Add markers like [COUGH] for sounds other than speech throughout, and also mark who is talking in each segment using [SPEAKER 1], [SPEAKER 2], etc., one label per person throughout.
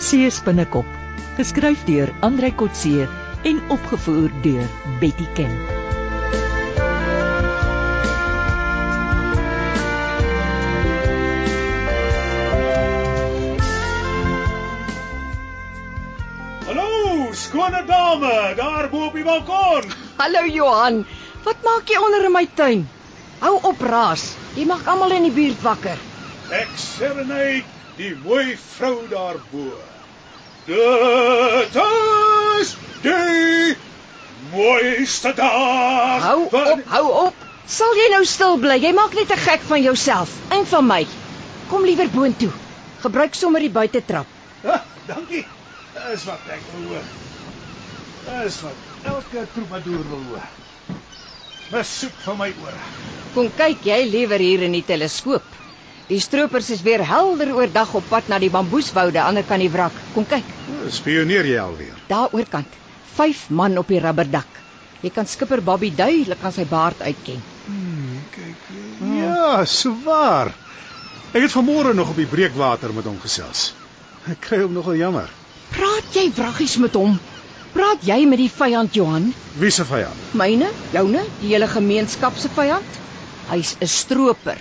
[SPEAKER 1] Kotse se binnekop, geskryf deur Andrei Kotse en opgevoer deur Betty Ken.
[SPEAKER 2] Hallo, skone dame, daar bo op die balkon.
[SPEAKER 3] Hallo Johan. Wat maak jy onder in my tuin? Hou op raas. Jy maak almal in die buurt wakker.
[SPEAKER 2] Ek serenade die mooi vrou daar bo. Dit is die mooiste dag.
[SPEAKER 3] Hou
[SPEAKER 2] van-
[SPEAKER 3] op, hou op. Sal jy nou stil bly? Jy maak net 'n gek van jouself en van my. Kom liewer boontoe. Gebruik sommer die buitetrap.
[SPEAKER 2] Ah, dankie. Dis wat ek wil hoor. Dis wat elke troubadour wil hoor. Besoek van my ore.
[SPEAKER 3] Kom kyk jy liewer hier in die teleskoop. Die stroopers is weer helder oordag op pad na die bamboeswoude aan die ander kant die wrak. Kom kyk,
[SPEAKER 2] Spioneer jy alweer?
[SPEAKER 3] daar oorkant. Vyf man op die rubberdak. Jy kan skipper Bobby duidelik aan sy baard uitken.
[SPEAKER 2] Ja, so waar. Ek het vanmôre nog op die breekwater met hom gesels. Ek kry hom nogal jammer.
[SPEAKER 3] Praat jy wraggies met hom? Praat jy met die vyand Johan?
[SPEAKER 2] Wie se vyand?
[SPEAKER 3] Myne, joune, die hele gemeenskap se vyand? Hy's 'n stroper.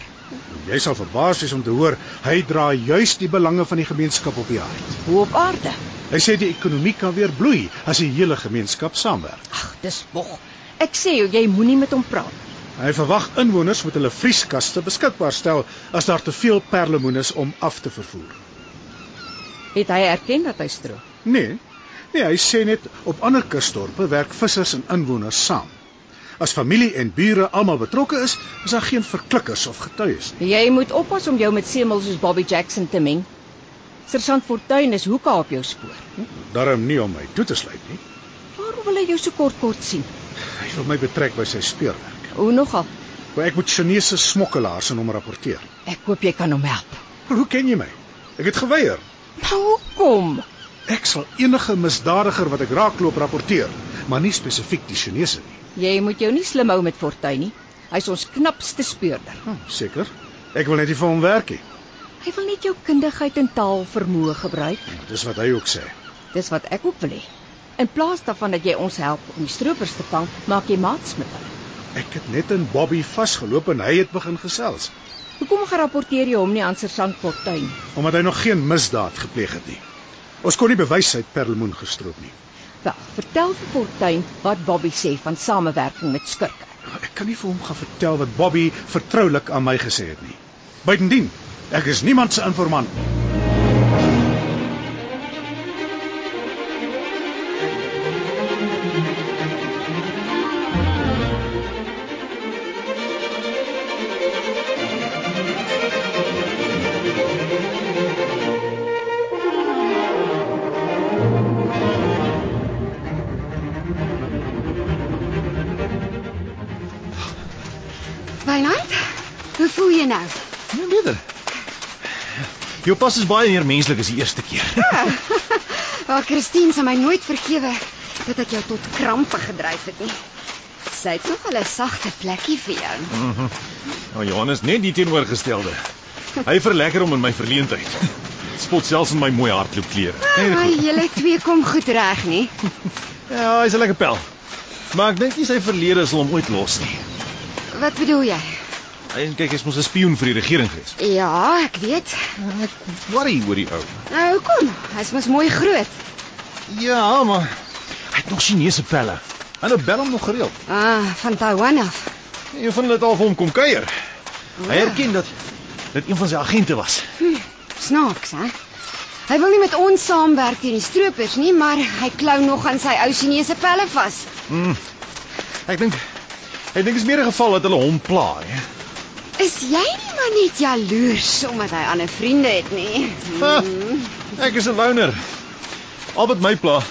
[SPEAKER 2] Jy sal verbaas wees om te hoor hy dra juis die belange van die gemeenskap op die hart.
[SPEAKER 3] Hoe op aarde?
[SPEAKER 2] Hy sê die ekonomie kan weer bloei as die hele gemeenskap saamwerk.
[SPEAKER 3] Ag, dis bog. Ek sê jou, jy moenie met hom praat.
[SPEAKER 2] Hy verwag inwoners met hulle vrieskaste beskikbaar stel as daar te veel perlemoenes om af te vervoer.
[SPEAKER 3] Het hy erken dat hy stroop?
[SPEAKER 2] Nee. Nee, hy sê net op ander kusdorpe werk vissers en inwoners saam. As familie en bure almal betrokke is, is daar geen verklikkers of getuies nie.
[SPEAKER 3] Jy moet oppas om jou met semels soos Bobby Jackson te meng. Sergeant Fortuin is hoeka op jou spoor.
[SPEAKER 2] Daarom nie om my toe te sluit nie.
[SPEAKER 3] Waarom wil hy jou so kort kort sien?
[SPEAKER 2] Hy wil my betrek by sy speurwerk.
[SPEAKER 3] O, nogal.
[SPEAKER 2] Maar ek moet Chinese smokkelaars aan hom rapporteer.
[SPEAKER 3] Ek hoop jy kan hom help.
[SPEAKER 2] Maar Hoe ken jy my? Ek het geweier.
[SPEAKER 3] Maar hoekom?
[SPEAKER 2] Ek sal enige misdadiger wat ek raakloop rapporteer, maar nie spesifiek die Chinese nie.
[SPEAKER 3] Jy moet jou nie slim hou met Fortuin nie. Hy's ons knapste speurder.
[SPEAKER 2] Hm, Seker. Ek wil net nie vir hom werk nie.
[SPEAKER 3] Hy wil net jou kundigheid en taalvermoë gebruik.
[SPEAKER 2] Dis wat hy ook sê.
[SPEAKER 3] Dis wat ek ook wil hê. In plaas daarvan dat jy ons help om die stroopers te vang, maak jy maats met hulle.
[SPEAKER 2] Ek het net in Bobby vasgeloop en hy het begin gesels,
[SPEAKER 3] Hoekom gerapporteer jy hom nie aan Sergeant Fortuin?
[SPEAKER 2] omdat hy nog geen misdaad gepleeg het nie. Ons kon nie bewys hy het perlemoen gestroop nie.
[SPEAKER 3] Wel, vertel vir Fortuin wat Bobby sê van samewerking met skurke.
[SPEAKER 2] Ek kan nie vir hom gaan vertel wat Bobby vertroulik aan my gesê het nie. Buitendien, ek is niemand se informant nie.
[SPEAKER 4] Wynand, hoe voel jy nou?
[SPEAKER 5] Ja, beter. Jou pas is baie meer menslik as die eerste
[SPEAKER 2] [LAUGHS]
[SPEAKER 5] keer.
[SPEAKER 4] Wel, Oh, Christine sal my nooit vergewe dat ek jou tot krampe gedryf het nie. Sy het nog 'n sagte plekkie vir jou.
[SPEAKER 5] Nou Johannes net die teenoorgestelde. Hy verlekker hom in my verleentheid. Spot selfs in my mooi hardloopklere. Nee,
[SPEAKER 4] Maar
[SPEAKER 5] goed.
[SPEAKER 4] julle twee kom goed reg, nie?
[SPEAKER 5] Ja, hy's 'n lekker pel. Maar ek dink nie sy verlede sal hom ooit los nie.
[SPEAKER 4] Wat bedoel jy?
[SPEAKER 5] En kyk, hy's mos 'n spioen vir die regering gewees.
[SPEAKER 4] Ja, ek weet.
[SPEAKER 5] Ek worry oor die ou.
[SPEAKER 4] Nou hoekom? Hy's mos mooi groot.
[SPEAKER 5] Ja, maar hy het nog Chinese pelle. Hulle bel hom nog gereeld.
[SPEAKER 4] Ah, van Taiwan af.
[SPEAKER 5] Een van hulle het al vir hom kom kuier. Hy erken dat dit een van sy agente was.
[SPEAKER 4] Snaaks, hè? Hy wil nie met ons saamwerk teen die stroopers nie, maar hy klou nog aan sy ou Chinese pelle vas.
[SPEAKER 5] Mm. Ek dink ek dink is meer 'n geval dat hulle hom pla, hè.
[SPEAKER 4] Is jy nie maar net jaloers omdat hy ander vriende het nie?
[SPEAKER 5] Ha, Ek is 'n loner. Al wat my pla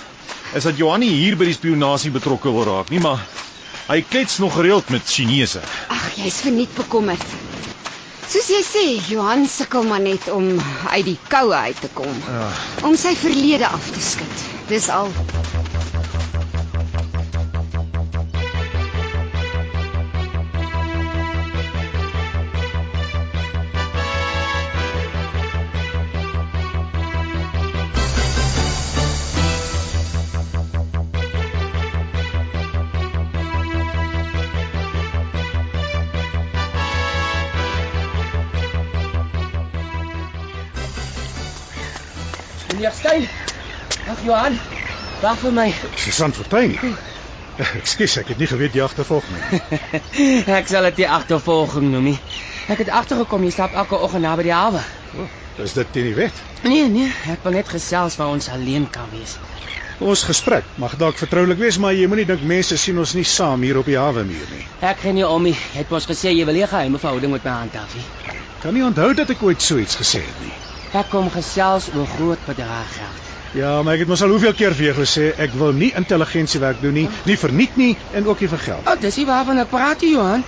[SPEAKER 5] is dat Johanni hier by die spionasie betrokke wil raak, nie maar hy klets nog gereeld met Chinese.
[SPEAKER 4] Ag, jy's verniet bekommerd. Soos jy sê, Johan sukkel maar net om uit die koue uit te kom,
[SPEAKER 5] Uh,
[SPEAKER 4] om sy verlede af te skud. Dis al.
[SPEAKER 6] meneer Steyn. Dag Johan. Dag vir my.
[SPEAKER 2] Susan Fortuin. [LAUGHS] Ekskuus, ek het nie geweet jy agtervolg my.
[SPEAKER 6] [LAUGHS] ek sal dit nie agtervolging noem nie. Ek het agtergekom jy stap elke oggend naby die hawe.
[SPEAKER 2] Is dit teen die wet?
[SPEAKER 6] Nee, nee, ek wil net gesels waar ons alleen kan wees.
[SPEAKER 2] Ons gesprek mag dalk vertroulik wees, maar jy moenie dink mense sien ons nie saam hier op die hawe muur nie.
[SPEAKER 6] Ek gee nie om nie. Jy het mos gesê jy wil nie geheime verhouding met my handhaaf nie.
[SPEAKER 2] Kan nie onthou dat ek ooit so iets gesê het nie.
[SPEAKER 6] Ek kom gesels oor groot bedrag geld.
[SPEAKER 2] Ja, maar ek het mos al hoeveel keer vir jou gesê ek wil nie intelligensiewerk doen nie, nie verniet nie en ook nie vir geld.
[SPEAKER 6] Oh, dis nie waarvan ek praat nie, Johan.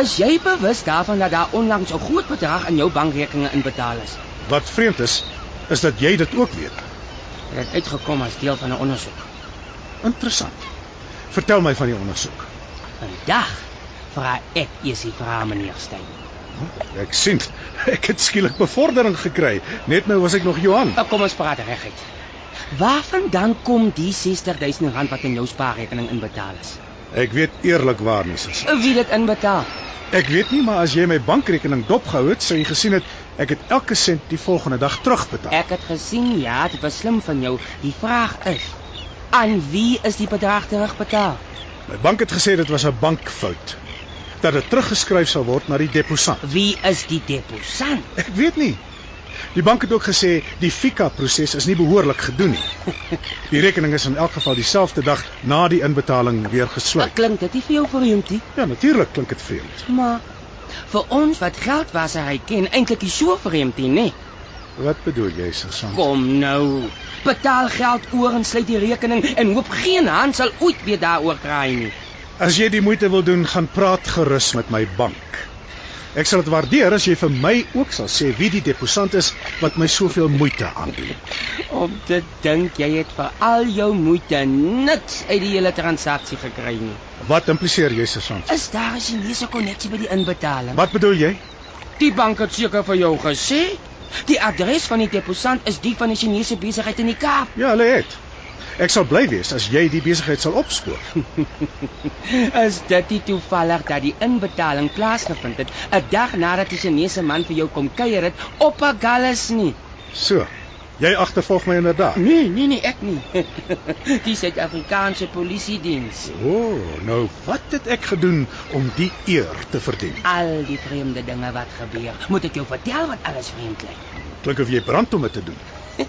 [SPEAKER 6] Is jy bewus daarvan dat daar onlangs 'n groot bedrag in jou bankrekeninge inbetaal is?
[SPEAKER 2] Wat vreemd is, is dat jy dit ook weet.
[SPEAKER 6] Dit het uitgekom as deel van 'n ondersoek.
[SPEAKER 2] Interessant. Vertel my van die ondersoek.
[SPEAKER 6] Vandag vra ek eers die vraag, meneer Steyn.
[SPEAKER 2] Ek sien [LAUGHS] ek het skielik bevordering gekry. Net nou was ek nog Johan.
[SPEAKER 6] Nou kom ons praat reguit. Waarvandaan kom die 60000 rand wat in jou spaarrekening inbetaal is?
[SPEAKER 2] Ek weet eerlikwaar nie, sussie.
[SPEAKER 6] Wie het dit inbetaal?
[SPEAKER 2] Ek weet nie, maar as jy my bankrekening dopgehou het, sou jy gesien het ek het elke sent die volgende dag terugbetaal.
[SPEAKER 6] Ek het gesien ja, dit was slim van jou. Die vraag is, aan wie is die bedrag terugbetaal?
[SPEAKER 2] My bank het gesê dit was 'n bankfout. Dat dit teruggeskryf sal word na die deposant.
[SPEAKER 6] Wie is die deposant?
[SPEAKER 2] Ek weet nie. Die bank het ook gesê die FICA-proses is nie behoorlik gedoen [LAUGHS] nie. Die rekening is in elk geval dieselfde dag na die inbetaling weer
[SPEAKER 6] Wat
[SPEAKER 2] gesluit.
[SPEAKER 6] klink dit nie vir jou vreemd nie?
[SPEAKER 2] Ja, natuurlik klink dit vreemd.
[SPEAKER 6] Maar vir ons wat geld was hy ken eintlik nie so vreemd nie, nê?
[SPEAKER 2] Wat bedoel jy, Susan?
[SPEAKER 6] Kom nou. Betaal geld oor en sluit die rekening en hoop geen hand sal ooit weer daaroor kraai nie.
[SPEAKER 2] As jy die moeite wil doen, gaan praat gerus met my bank. Ek sal dit waardeer as jy vir my ook sal sê wie die deposant is wat my soveel moeite aandoen.
[SPEAKER 6] Om te dink jy het vir al jou moeite niks uit die hele transaksie gekry nie.
[SPEAKER 2] Wat impliseer jy, Susan?
[SPEAKER 6] Is daar 'n Chinese koneksie by die inbetaling?
[SPEAKER 2] Wat bedoel jy?
[SPEAKER 6] Die bank het seker vir jou gesê die adres van die deposant is die van 'n Chinese besigheid in die Kaap.
[SPEAKER 2] Ja, hulle het. Ek sal bly wees as jy die besigheid sal opspoor.
[SPEAKER 6] Is dit nie toevallig dat die inbetaling plaasgevind het 'n dag nadat die Chinese man vir jou kom kuier het op Agallas nie?
[SPEAKER 2] So. Jy agtervolg my inderdaad.
[SPEAKER 6] Nee, nee, nee, ek nie. [LAUGHS] die Suid-Afrikaanse Polisie Diens.
[SPEAKER 2] O, oh, nou wat het ek gedoen om die eer te verdien?
[SPEAKER 6] Al die vreemde dinge wat gebeur. Moet ek jou vertel wat alles vreemd lyk?
[SPEAKER 2] Klink of jy brand om dit te doen.
[SPEAKER 6] 'n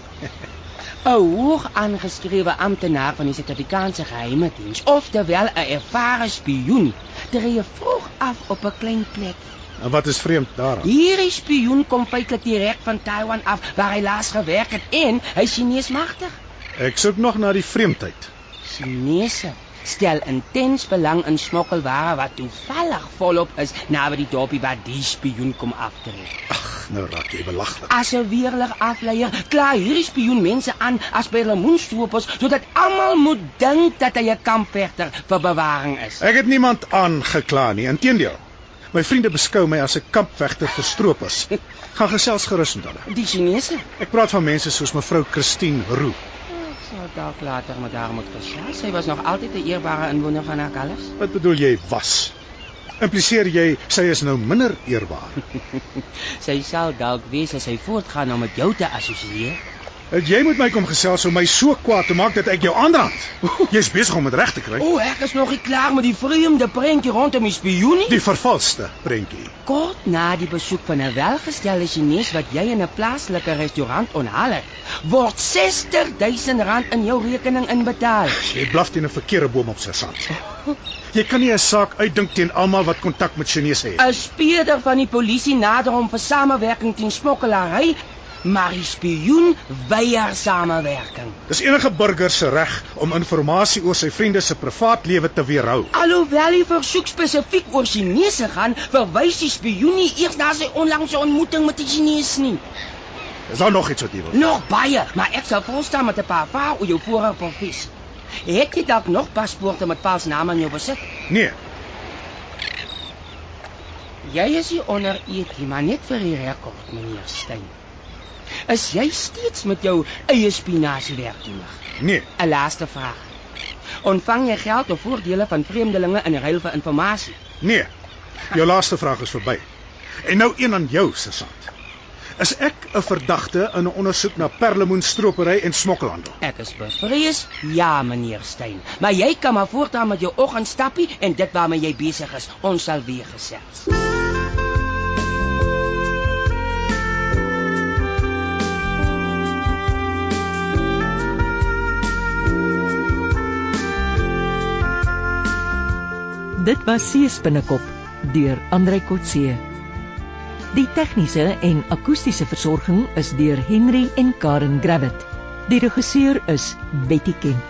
[SPEAKER 6] Hoog aangeskrewe amptenaar van die Suid-Afrikaanse Geheime Diens, oftewel 'n ervare spioen, tree vroeg af op 'n klein plek
[SPEAKER 2] En wat is vreemd daaraan?
[SPEAKER 6] Hierdie spioen kom feitelik direk van Taiwan af waar hy laas gewerk het en hy is Chinees magtig.
[SPEAKER 2] Ek soek nog na die vreemdheid.
[SPEAKER 6] Chinese stel intens belang in smokkelware wat toevallig volop is naby die dorpie waar die spioen kom aftrek.
[SPEAKER 2] Nou raak jy belaglik.
[SPEAKER 6] As 'n weerlig afleier kla hierdie spioen mense aan as by lemoenstoepers sodat almal moet dink dat hy 'n kampvegter vir bewaring is.
[SPEAKER 2] Ek het niemand aangekla nie, inteendeel. My vriende beskou my as 'n kampvegter vir stroopers. Gaan gesels gerus met hulle.
[SPEAKER 6] Die Chinese
[SPEAKER 2] Ek praat van mense soos mevrou Christine Roo.
[SPEAKER 6] sou dalk later met haar moet gesels. Sy was nog altyd 'n eerbare inwoner van Agallas.
[SPEAKER 2] Wat bedoel jy was? Impliseer jy sy is nou minder eerbaar?
[SPEAKER 6] Sy sal dalk wees as hy voortgaan om met jou te assosieer.
[SPEAKER 2] Het jy moet my kom gesels om my so kwaad te maak dat ek jou aanrand? Jy's besig om dit reg te kry.
[SPEAKER 6] O, ek is nog nie klaar met die vreemde prentjie rondom die spioen nie.
[SPEAKER 2] Die vervalste prentjie.
[SPEAKER 6] Kort na die besoek van 'n welgestelde Chinees wat jy in 'n plaaslike restaurant onthaal het, word 60000 rand in jou rekening inbetaal.
[SPEAKER 2] Jy blaf teen 'n verkeerde boom op sy sand. Jy kan nie 'n saak uitdink teen almal wat kontak met Chinese het.
[SPEAKER 6] 'n Speurder van die polisie nader hom vir samewerking teen smokkelary, maar die spioen weier samewerking.
[SPEAKER 2] Dis enige burger se reg om inligting oor sy vriende se privaatlewe te weerhou.
[SPEAKER 6] Alhoewel die versoek spesifiek oor Chinese gaan, verwys die spioen nie eers na sy onlangse ontmoeting met die Chinees nie.
[SPEAKER 2] Is daar nog iets wat jy wil?
[SPEAKER 6] Nog baie, maar ek sal volstaan met 'n paar vrae oor jou vorige profes. Het jy dalk nog paspoorte met paals name in jou besit?
[SPEAKER 2] Nee,
[SPEAKER 6] Jy is hier onder eet, maar net vir die rekord, meneer Steyn. Is jy steeds met jou eie spinasie werktoenig?
[SPEAKER 2] nee.
[SPEAKER 6] 'n Laaste vraag. Ontvang jy geld of voordele van vreemdelinge in ruil vir inligting?
[SPEAKER 2] Nee. Jou laaste vraag is verby. En nou een aan jou, Sesant. is ek 'n verdagte in 'n ondersoek na perlemoenstropery en smokkelhandel.
[SPEAKER 6] Ek is bevrees, ja meneer Steyn, maar jy kan maar voortaan met jou oggendstappie en dit waarmee jy besig is, ons sal weer gesels.
[SPEAKER 1] Dit was Seespinnekop deur Andrei Kotse. Die tegniese en akoestiese versorging is deur Henry en Karen Gravett. Die regisseur is Betty Kemp.